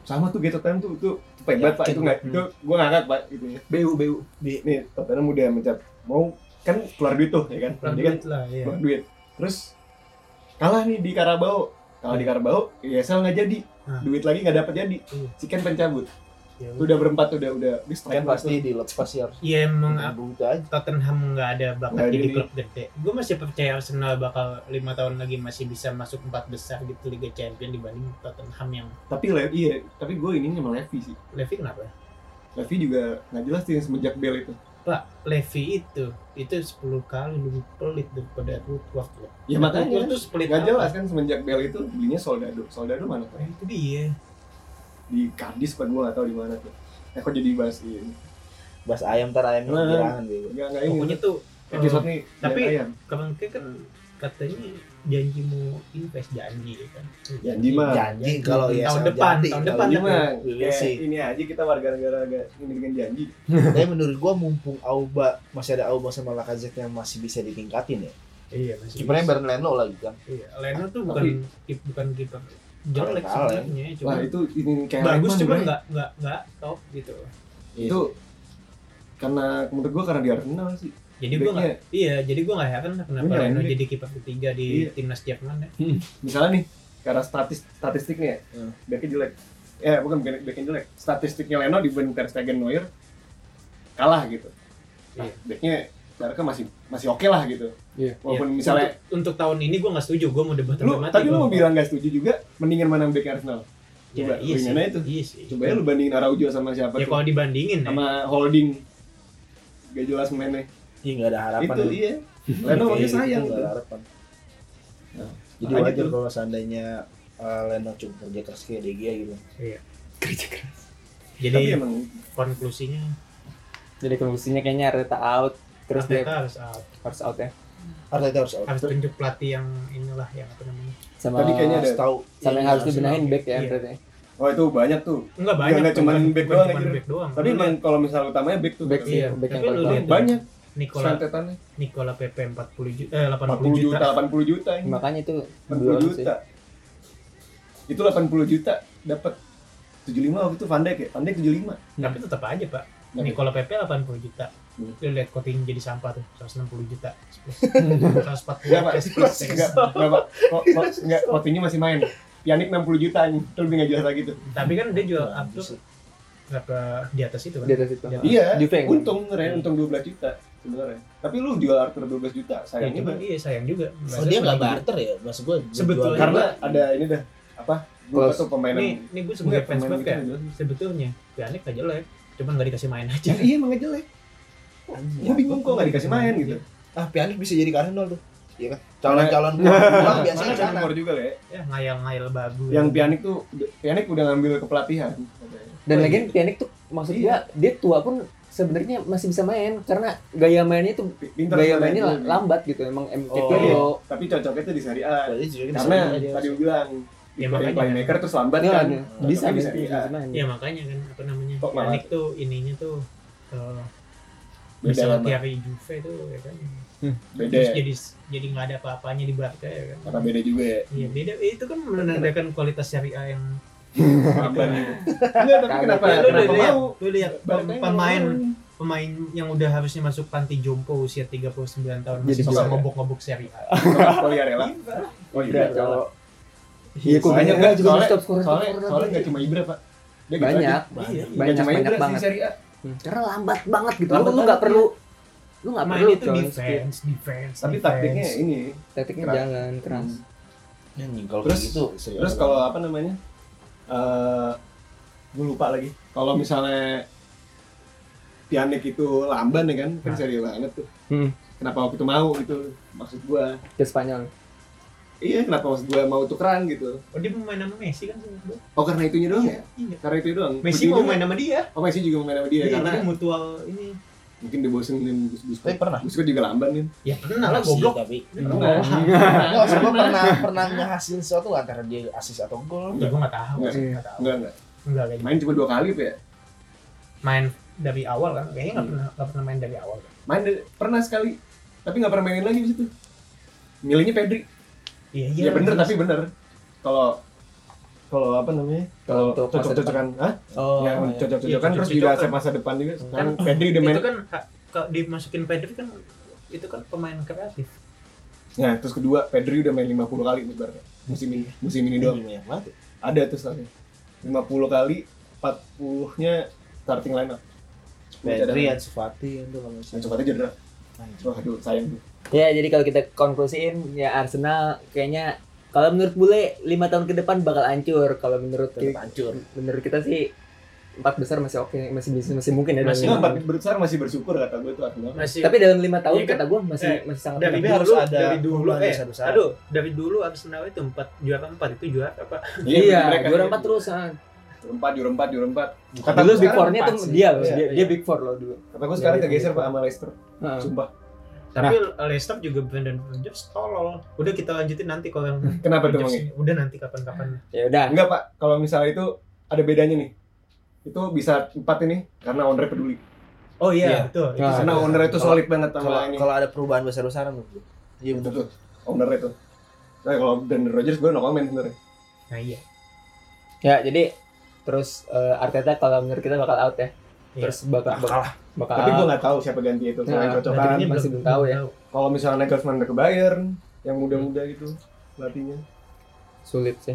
Speaker 3: Sama tuh gitu Time tuh itu hebat pak,
Speaker 2: Yakin,
Speaker 3: itu nggak
Speaker 2: hmm.
Speaker 3: itu gua ngangkat pak gitu ya.
Speaker 1: BU BU
Speaker 3: Nih Tottenham udah mencap mau kan keluar duit tuh ya kan,
Speaker 4: Kurang
Speaker 3: dia kan
Speaker 4: duit lah iya
Speaker 3: keluar duit. Terus kalah nih di Karabau, kalah di Karabau, ESL nggak jadi,
Speaker 4: Hmm.
Speaker 3: duit lagi nggak dapat jadi,
Speaker 4: Iya.
Speaker 3: si Ken pencabut.
Speaker 4: Ya udah.
Speaker 3: Udah berempat udah udah di strike
Speaker 2: kan pasti dilepas sih harus
Speaker 4: Iya
Speaker 3: Hmm.
Speaker 4: emang apa,
Speaker 2: duit aja
Speaker 4: Tottenham nggak ada
Speaker 3: Nggak
Speaker 4: bakat
Speaker 3: ada
Speaker 4: jadi
Speaker 3: ini.
Speaker 4: klub gede. Gue masih percaya Arsenal bakal lima tahun lagi masih bisa masuk empat besar gitu Liga Champion dibanding Tottenham yang
Speaker 3: Tapi Le- iya, tapi gue ini sama Levi sih.
Speaker 4: Levy kenapa?
Speaker 3: Levi juga nggak jelas sih semenjak Bell itu.
Speaker 4: lupa Levi itu itu 10 kali lebih pelit daripada Woodward loh.
Speaker 3: Ya makanya
Speaker 4: Woodward tuh pelit
Speaker 3: nggak
Speaker 4: apa?
Speaker 3: jelas kan semenjak Bell itu belinya Soldado. Soldado mana tuh?
Speaker 4: Nah, itu dia.
Speaker 3: Di Kadis apa gua nggak tahu di mana tuh. Eh kok jadi bahas ini?
Speaker 2: Bas ayam tar ayam
Speaker 3: Nah.
Speaker 2: bilangan gitu.
Speaker 3: Enggak enggak ini.
Speaker 4: Pokoknya tuh
Speaker 3: Iya. episode nih
Speaker 4: tapi-
Speaker 3: lihat ayam.
Speaker 4: kemarin kan katanya janji mau invest janji kan.
Speaker 3: Janji mah.
Speaker 2: Janji kalau ya
Speaker 4: Tahun
Speaker 2: sama
Speaker 4: depan,
Speaker 2: jati,
Speaker 4: tahun
Speaker 2: kalau
Speaker 4: depan.
Speaker 3: Ini
Speaker 2: gitu.
Speaker 3: Iya, mah
Speaker 2: We will
Speaker 4: iya,
Speaker 3: kayak
Speaker 2: see.
Speaker 3: ini aja kita warga negara agak ini dengan janji.
Speaker 2: Tapi menurut gua mumpung Auba masih ada Auba sama Lacazette yang masih bisa ditingkatin ya.
Speaker 4: Iya masih.
Speaker 2: Kipernya bareng Leno lagi kan.
Speaker 4: Iya, Leno tuh bukan
Speaker 3: Tapi-
Speaker 4: kip, bukan kiper jelek
Speaker 2: Keren-keren.
Speaker 4: sebenarnya, cuma
Speaker 3: Wah itu ini kayak
Speaker 4: bagus
Speaker 3: Rahman,
Speaker 4: cuma
Speaker 3: Bray.
Speaker 4: nggak nggak nggak top gitu.
Speaker 3: itu karena menurut gua karena di Arsenal sih.
Speaker 4: Jadi gua nggak iya, jadi gua nggak heran kenapa
Speaker 3: Bener,
Speaker 4: Leno
Speaker 3: bener.
Speaker 4: jadi kiper ketiga di
Speaker 3: Iya.
Speaker 4: timnas Jerman ya.
Speaker 3: misalnya nih karena statis statistiknya ya
Speaker 4: Hmm.
Speaker 3: backnya jelek ya bukan bukan backnya jelek statistiknya Leno dibanding Ter Stegen Neuer kalah gitu nah,
Speaker 4: Iya.
Speaker 3: backnya Barca masih masih oke lah gitu
Speaker 1: Iya.
Speaker 3: walaupun
Speaker 4: Iya.
Speaker 3: misalnya
Speaker 4: untuk, untuk tahun ini gua nggak setuju, gua mau debat
Speaker 3: lu
Speaker 4: sampai mati.
Speaker 3: tadi
Speaker 4: gua
Speaker 3: lu mau bilang gak setuju juga mendingan mana back Arsenal
Speaker 4: Ya,
Speaker 3: coba
Speaker 4: iya
Speaker 3: lu
Speaker 4: sih.
Speaker 3: gimana itu?
Speaker 4: Iya sih.
Speaker 3: coba ya lu bandingin Araujo sama siapa
Speaker 4: Ya
Speaker 3: tuh?
Speaker 4: kalau dibandingin ya.
Speaker 3: sama holding gak jelas mainnya
Speaker 2: Iya nggak ada harapan.
Speaker 3: itu
Speaker 2: lu.
Speaker 3: iya Leno makanya
Speaker 4: iya,
Speaker 3: sayang
Speaker 2: Nggak
Speaker 3: tuh.
Speaker 2: ada harapan.
Speaker 3: Nah,
Speaker 2: Jadi
Speaker 3: makanya
Speaker 2: wajar
Speaker 3: tuh.
Speaker 2: kalau seandainya uh, Leno cuma kerja keras kayak De Gea gitu.
Speaker 1: kerja keras
Speaker 4: Iya. Jadi
Speaker 3: tapi emang
Speaker 4: konklusinya
Speaker 1: (laughs) jadi konklusinya kayaknya Arteta out terus dia
Speaker 4: Arteta harus out.
Speaker 1: harus out ya
Speaker 2: Arteta harus out.
Speaker 4: harus tunjuk pelatih yang inilah yang apa namanya.
Speaker 1: sama
Speaker 3: Tadi kayaknya ada
Speaker 2: Harus tahu
Speaker 1: sama yang harus
Speaker 4: Arsenal.
Speaker 1: dibenahin back ya
Speaker 4: Iya.
Speaker 1: berarti
Speaker 3: oh itu banyak tuh
Speaker 4: Enggak banyak.
Speaker 3: nggak
Speaker 4: tuh,
Speaker 3: cuman
Speaker 4: bukan-
Speaker 3: back
Speaker 4: bukan
Speaker 3: doang,
Speaker 4: cuman
Speaker 3: anjir.
Speaker 4: back doang.
Speaker 3: tapi
Speaker 4: Lu
Speaker 3: emang kalau misalnya utamanya back tuh
Speaker 1: back sih
Speaker 4: Iya,
Speaker 1: back yang
Speaker 4: tapi lu
Speaker 1: paling
Speaker 4: lihat-
Speaker 3: banyak
Speaker 4: Nicola
Speaker 3: santetannya
Speaker 4: Nicola PP 40 juta eh 80
Speaker 3: 40 juta,
Speaker 4: juta.
Speaker 3: 80 juta ini.
Speaker 1: makanya itu
Speaker 3: 80
Speaker 1: belum sih
Speaker 3: juta. Itu 80 juta dapat 75 waktu itu Van Dijk ya. Van Dijk 75.
Speaker 4: Tapi tetap aja, Pak.
Speaker 3: Tapi-
Speaker 4: Nicola PP 80 juta.
Speaker 3: Hmm.
Speaker 4: Lu lihat Coutinho jadi sampah tuh 160
Speaker 3: (laughs)
Speaker 4: juta. 140
Speaker 3: Enggak, Iya, Pak.
Speaker 4: plus plus.
Speaker 3: Enggak, enggak, Pak. Kok kok enggak Coutinho masih main. Pianik 60 juta ini. Itu lebih gitu. enggak jelas lagi tuh.
Speaker 4: Tapi kan dia jual up
Speaker 2: Bagus
Speaker 4: tuh berapa di atas itu kan.
Speaker 1: di atas itu
Speaker 4: Iya.
Speaker 3: Iya.
Speaker 1: Juve yang
Speaker 3: Untung Ren, untung 12 juta sebenarnya. Tapi lu jual Arthur 12 juta,
Speaker 4: Ya,
Speaker 3: sayangnya
Speaker 4: cuma
Speaker 3: Bang.
Speaker 4: iya sayang juga.
Speaker 2: Oh, dia nggak
Speaker 4: Sebagai-
Speaker 2: barter ya, maksud gua. berjualan.
Speaker 4: Sebetulnya.
Speaker 3: Karena ada ini dah apa? Lupa
Speaker 1: Plus.
Speaker 3: tuh pemain
Speaker 4: Nih,
Speaker 3: yang
Speaker 4: nih gue sebagai
Speaker 3: Enggak,
Speaker 4: fans
Speaker 3: pemain
Speaker 4: klub
Speaker 3: itu
Speaker 4: kayak
Speaker 3: nggak
Speaker 4: sebetulnya Pianik aja jelek, cuman nggak dikasih main aja.
Speaker 3: (laughs) Ya, iya emang jelek. Gue bingung kok nggak dikasih main gitu.
Speaker 1: Iya.
Speaker 2: ah Pjanic bisa jadi ke Arsenal tuh. Iya kan? Calon-calon gua gua biasanya
Speaker 3: Nah, Makanya
Speaker 2: ke sana.
Speaker 3: nomor juga lah ya.
Speaker 4: Ya ngayal-ngayal ya. bagus.
Speaker 3: Yang Pianik tuh Pianik udah ngambil kepelatihan. katanya.
Speaker 1: dan
Speaker 3: Oh,
Speaker 1: lagi
Speaker 3: iya.
Speaker 1: Pjanic tuh maksud gua dia tua pun sebenarnya masih bisa main karena gaya mainnya tuh
Speaker 3: pintar
Speaker 1: gaya
Speaker 3: sebenarnya.
Speaker 1: mainnya la- lambat gitu emang MK
Speaker 2: Oh,
Speaker 3: iya.
Speaker 1: Pirlo
Speaker 3: tapi cocoknya tuh di Serie A
Speaker 2: Berarti jujur kita
Speaker 3: karena
Speaker 2: sama aja.
Speaker 3: tadi gue bilang
Speaker 4: Ya,
Speaker 3: ya,
Speaker 4: makanya.
Speaker 3: playmaker terus lambat
Speaker 1: Iya,
Speaker 3: kan
Speaker 1: iya.
Speaker 2: Nah,
Speaker 1: bisa
Speaker 3: tapi
Speaker 1: main
Speaker 3: bisa
Speaker 1: tuh,
Speaker 3: iya.
Speaker 1: bisa main.
Speaker 4: Ya makanya kan apa namanya?
Speaker 3: Kok malah-
Speaker 4: Pianik tuh ininya tuh eh,
Speaker 3: Beda
Speaker 4: bisa
Speaker 3: sama-
Speaker 4: Thierry Juve tuh ya kan.
Speaker 3: beda
Speaker 4: Terus
Speaker 3: ya.
Speaker 4: jadi jadi nggak ada apa-apanya di Barca ya kan.
Speaker 3: karena beda juga ya
Speaker 4: Iya beda itu kan menandakan kualitas syariah yang
Speaker 3: lambat enggak Iya, tapi
Speaker 1: Kagak.
Speaker 3: kenapa
Speaker 1: Ya,
Speaker 4: lu udah
Speaker 3: kenapa
Speaker 4: lihat
Speaker 3: mau
Speaker 4: lu lihat
Speaker 3: Barca yang
Speaker 4: pemain
Speaker 3: ngomong.
Speaker 4: pemain yang udah harusnya masuk panti jompo usia 39 tahun
Speaker 1: Jadi
Speaker 4: masih bisa
Speaker 3: juara.
Speaker 4: mabok-mabok syariah.
Speaker 3: Thomas Poliarella oh
Speaker 1: Ibra
Speaker 3: Ibra
Speaker 1: Iya, kalau
Speaker 3: iya
Speaker 1: kok
Speaker 3: soalnya
Speaker 1: banyak
Speaker 3: enggak
Speaker 1: banget juga
Speaker 3: soalnya
Speaker 1: top scorer, top
Speaker 3: soalnya
Speaker 1: scorer
Speaker 3: soalnya
Speaker 1: lagi.
Speaker 3: nggak cuma Ibra pak Dia gitu
Speaker 1: banyak
Speaker 3: aja.
Speaker 2: Banyak.
Speaker 3: Nggak
Speaker 1: banyak
Speaker 3: cuma
Speaker 1: banyak
Speaker 3: Ibra sih
Speaker 1: banget
Speaker 3: Serie A
Speaker 1: Hmm. karena lambat banget gitu
Speaker 3: Lambat
Speaker 1: lu lu nggak
Speaker 3: banget,
Speaker 1: perlu lu nggak
Speaker 4: Main
Speaker 1: perlu
Speaker 4: itu
Speaker 1: coy.
Speaker 4: defense, defense,
Speaker 3: tapi
Speaker 4: defense.
Speaker 3: taktiknya ini
Speaker 1: taktiknya
Speaker 3: Keras.
Speaker 1: jangan keras Hmm.
Speaker 2: Anjing, kalau
Speaker 3: Terus-
Speaker 2: kayak gitu. serius.
Speaker 3: Terus kalau apa namanya? Eh gue lupa lagi. Kalau misalnya Pianik itu lamban ya kan, kan
Speaker 4: Nah.
Speaker 3: serius banget tuh.
Speaker 1: Hmm.
Speaker 3: Kenapa waktu itu mau gitu? Maksud gua,
Speaker 1: ke Spanyol
Speaker 3: iya kenapa maksud gua mau tukeran gitu?
Speaker 4: Oh dia mau main sama Messi kan sebenarnya.
Speaker 3: Oh karena itunya doang ya?
Speaker 4: Iya.
Speaker 3: Karena itu doang.
Speaker 4: Messi mau main sama dia.
Speaker 3: Oh Messi juga mau main sama dia
Speaker 4: Iya,
Speaker 3: karena
Speaker 4: jadi mutual ini.
Speaker 3: mungkin dia bosen dengan Gus Busko.
Speaker 4: Eh.
Speaker 2: Tapi pernah.
Speaker 3: Busko juga lamban kan?
Speaker 4: Ya pernah lah
Speaker 2: Pernah sih,
Speaker 4: goblok. Iya,
Speaker 2: Tapi
Speaker 3: Enggak.
Speaker 2: Enggak, maksud gua pernah pernah ngehasilin sesuatu antara dia asis atau gol.
Speaker 4: Ya gue nggak tahu.
Speaker 3: Enggak.
Speaker 4: sih, nggak tahu.
Speaker 3: Enggak enggak.
Speaker 4: Enggak kayaknya.
Speaker 3: Main cuma dua kali Pak, ya.
Speaker 4: Main dari awal kan kayaknya
Speaker 3: Hmm.
Speaker 4: nggak pernah nggak pernah main dari awal.
Speaker 3: Main dari- pernah sekali, tapi nggak pernah mainin lagi di situ. Milihnya Pedri.
Speaker 4: Iya
Speaker 3: Ya, bener tapi bener. Kalau kalau apa namanya? Kalau
Speaker 1: Untuk masa
Speaker 3: cocok-cocokan, hah?
Speaker 1: oh
Speaker 3: yang cocok-cocokan
Speaker 4: iya,
Speaker 3: terus juga
Speaker 4: cocok-cocokan.
Speaker 3: masa depan juga. Sekarang
Speaker 4: Kan-
Speaker 3: Pedri udah main.
Speaker 4: itu kan ha- kalau dimasukin Pedri kan itu kan pemain kreatif.
Speaker 3: Nah, terus kedua Pedri udah main 50 kali ibaratnya.
Speaker 4: Iya.
Speaker 3: Musim ini, musim ini doang.
Speaker 2: Ini banyak banget.
Speaker 3: Ada tuh soalnya. 50 kali 40-nya starting lineup.
Speaker 2: Pedri,
Speaker 3: ya.
Speaker 2: Ansu Fati, itu kalau
Speaker 3: Nah,
Speaker 2: misalnya.
Speaker 3: coba aja cedera.
Speaker 2: Anjing.
Speaker 3: Wah, aduh sayang tuh.
Speaker 1: ya jadi kalau kita konklusiin ya Arsenal kayaknya kalau menurut bule lima tahun ke depan bakal hancur kalau menurut
Speaker 2: Tetap hancur.
Speaker 1: menurut kita sih empat besar masih oke masih bisa masih mungkin ya dalam
Speaker 4: Masih
Speaker 1: lima
Speaker 3: Enggak,
Speaker 1: tahun.
Speaker 3: empat besar masih bersyukur kata gue tuh Arsenal.
Speaker 4: masih
Speaker 1: tapi dalam lima tahun
Speaker 4: Iya kan?
Speaker 1: kata gue masih
Speaker 4: Eh,
Speaker 1: masih sangat
Speaker 4: dari
Speaker 2: Tapi
Speaker 4: dulu
Speaker 2: harus ada
Speaker 4: dari dulu
Speaker 2: perubahan
Speaker 4: eh
Speaker 2: besar-besar.
Speaker 4: aduh dari dulu Arsenal itu empat juara empat itu juara apa
Speaker 2: Nah.
Speaker 1: iya
Speaker 3: mereka. gitu.
Speaker 1: juara
Speaker 4: gitu.
Speaker 1: empat terus ah.
Speaker 3: Juara empat, juara empat, juara empat. Kata
Speaker 1: dulu
Speaker 3: gue
Speaker 1: big
Speaker 3: sekarang
Speaker 1: four-nya
Speaker 2: empat
Speaker 1: tuh
Speaker 2: sih.
Speaker 1: dia loh
Speaker 2: Iya,
Speaker 1: dia,
Speaker 2: iya.
Speaker 1: dia big four loh dulu
Speaker 3: Kata gue sekarang
Speaker 2: Iya,
Speaker 3: kegeser
Speaker 2: iya.
Speaker 3: pak sama Leicester.
Speaker 1: Heeh.
Speaker 3: Sumpah.
Speaker 4: tapi Leicester juga Brendan Rodgers tolol udah kita lanjutin nanti kalau yang
Speaker 2: Hmm.
Speaker 3: Kenapa tuh Bang?
Speaker 4: Rodgers ini. udah nanti
Speaker 2: Iya.
Speaker 4: kapan-kapan
Speaker 1: ya udah
Speaker 3: Enggak pak, kalau misalnya itu ada bedanya nih. Itu bisa empat ini karena owner peduli.
Speaker 4: oh
Speaker 2: Iya.
Speaker 4: iya betul itu
Speaker 1: Nah,
Speaker 3: Karena
Speaker 4: satu.
Speaker 3: owner itu
Speaker 2: Kalau-
Speaker 3: solid banget
Speaker 2: Kalau
Speaker 3: sama ini.
Speaker 2: kalau ada perubahan besar-besaran menurut gue. Iya
Speaker 3: Betul
Speaker 2: betul.
Speaker 3: tuh, owner itu. Nah, kalau Brendan Rodgers gue no comment sebenarnya.
Speaker 4: nah iya
Speaker 1: ya jadi terus eh, Arteta kalau menurut kita bakal out ya
Speaker 4: Iya.
Speaker 1: terus bakal bakal, bakal
Speaker 3: Tapi gue
Speaker 1: out.
Speaker 3: nggak tahu siapa ganti itu. Kalau
Speaker 1: Nah,
Speaker 3: yang cocok
Speaker 1: berarti
Speaker 3: kan.
Speaker 1: ini- masih belum tahu ya.
Speaker 3: Kalau misalnya Nagelsmann udah ke Bayern, yang muda-muda gitu pelatihnya
Speaker 1: sulit sih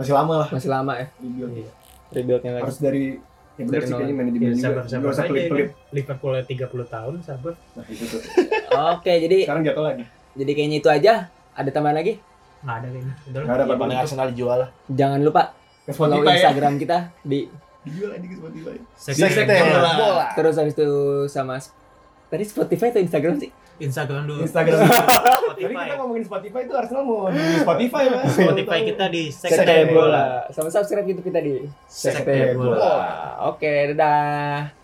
Speaker 3: masih lama lah
Speaker 1: masih lama ya
Speaker 3: rebuild.
Speaker 4: Iya.
Speaker 1: rebuildnya lagi
Speaker 3: Harus dari ya bener
Speaker 1: Dari
Speaker 3: sih
Speaker 1: nol.
Speaker 4: Ya,
Speaker 3: kayaknya
Speaker 2: Iya,
Speaker 3: manajemen juga. Gak
Speaker 4: sabar-sabar
Speaker 3: usah
Speaker 4: aja
Speaker 3: pelit-pelit.
Speaker 4: ini. Liverpool 30 tahun sabar
Speaker 3: Nah, itu tuh.
Speaker 1: oke jadi
Speaker 3: Sekarang jatuh lagi.
Speaker 1: jadi kayaknya itu aja ada tambahan lagi
Speaker 4: nggak ada kayaknya udah lah.
Speaker 3: Enggak ada
Speaker 2: Ya,
Speaker 3: apa-apa.
Speaker 2: paling Arsenal dijual lah.
Speaker 1: jangan lupa
Speaker 3: Ke
Speaker 1: follow
Speaker 3: Spotify ya.
Speaker 1: Instagram kita di
Speaker 3: Dijual aja ke Spotify.
Speaker 4: Sekte
Speaker 3: Sekte
Speaker 4: bola.
Speaker 3: bola.
Speaker 2: Bola.
Speaker 1: terus habis itu sama tadi Spotify atau Instagram sih
Speaker 4: Instagram dulu
Speaker 3: Instagram. Tadi
Speaker 4: Spotify
Speaker 3: kita ngomongin Spotify itu Arsenal mau di Spotify mas.
Speaker 4: Spotify kita di Sekte,
Speaker 3: Sekte
Speaker 4: bola.
Speaker 1: sama subscribe YouTube kita di
Speaker 4: Sekte bola.
Speaker 1: Oke, dadah.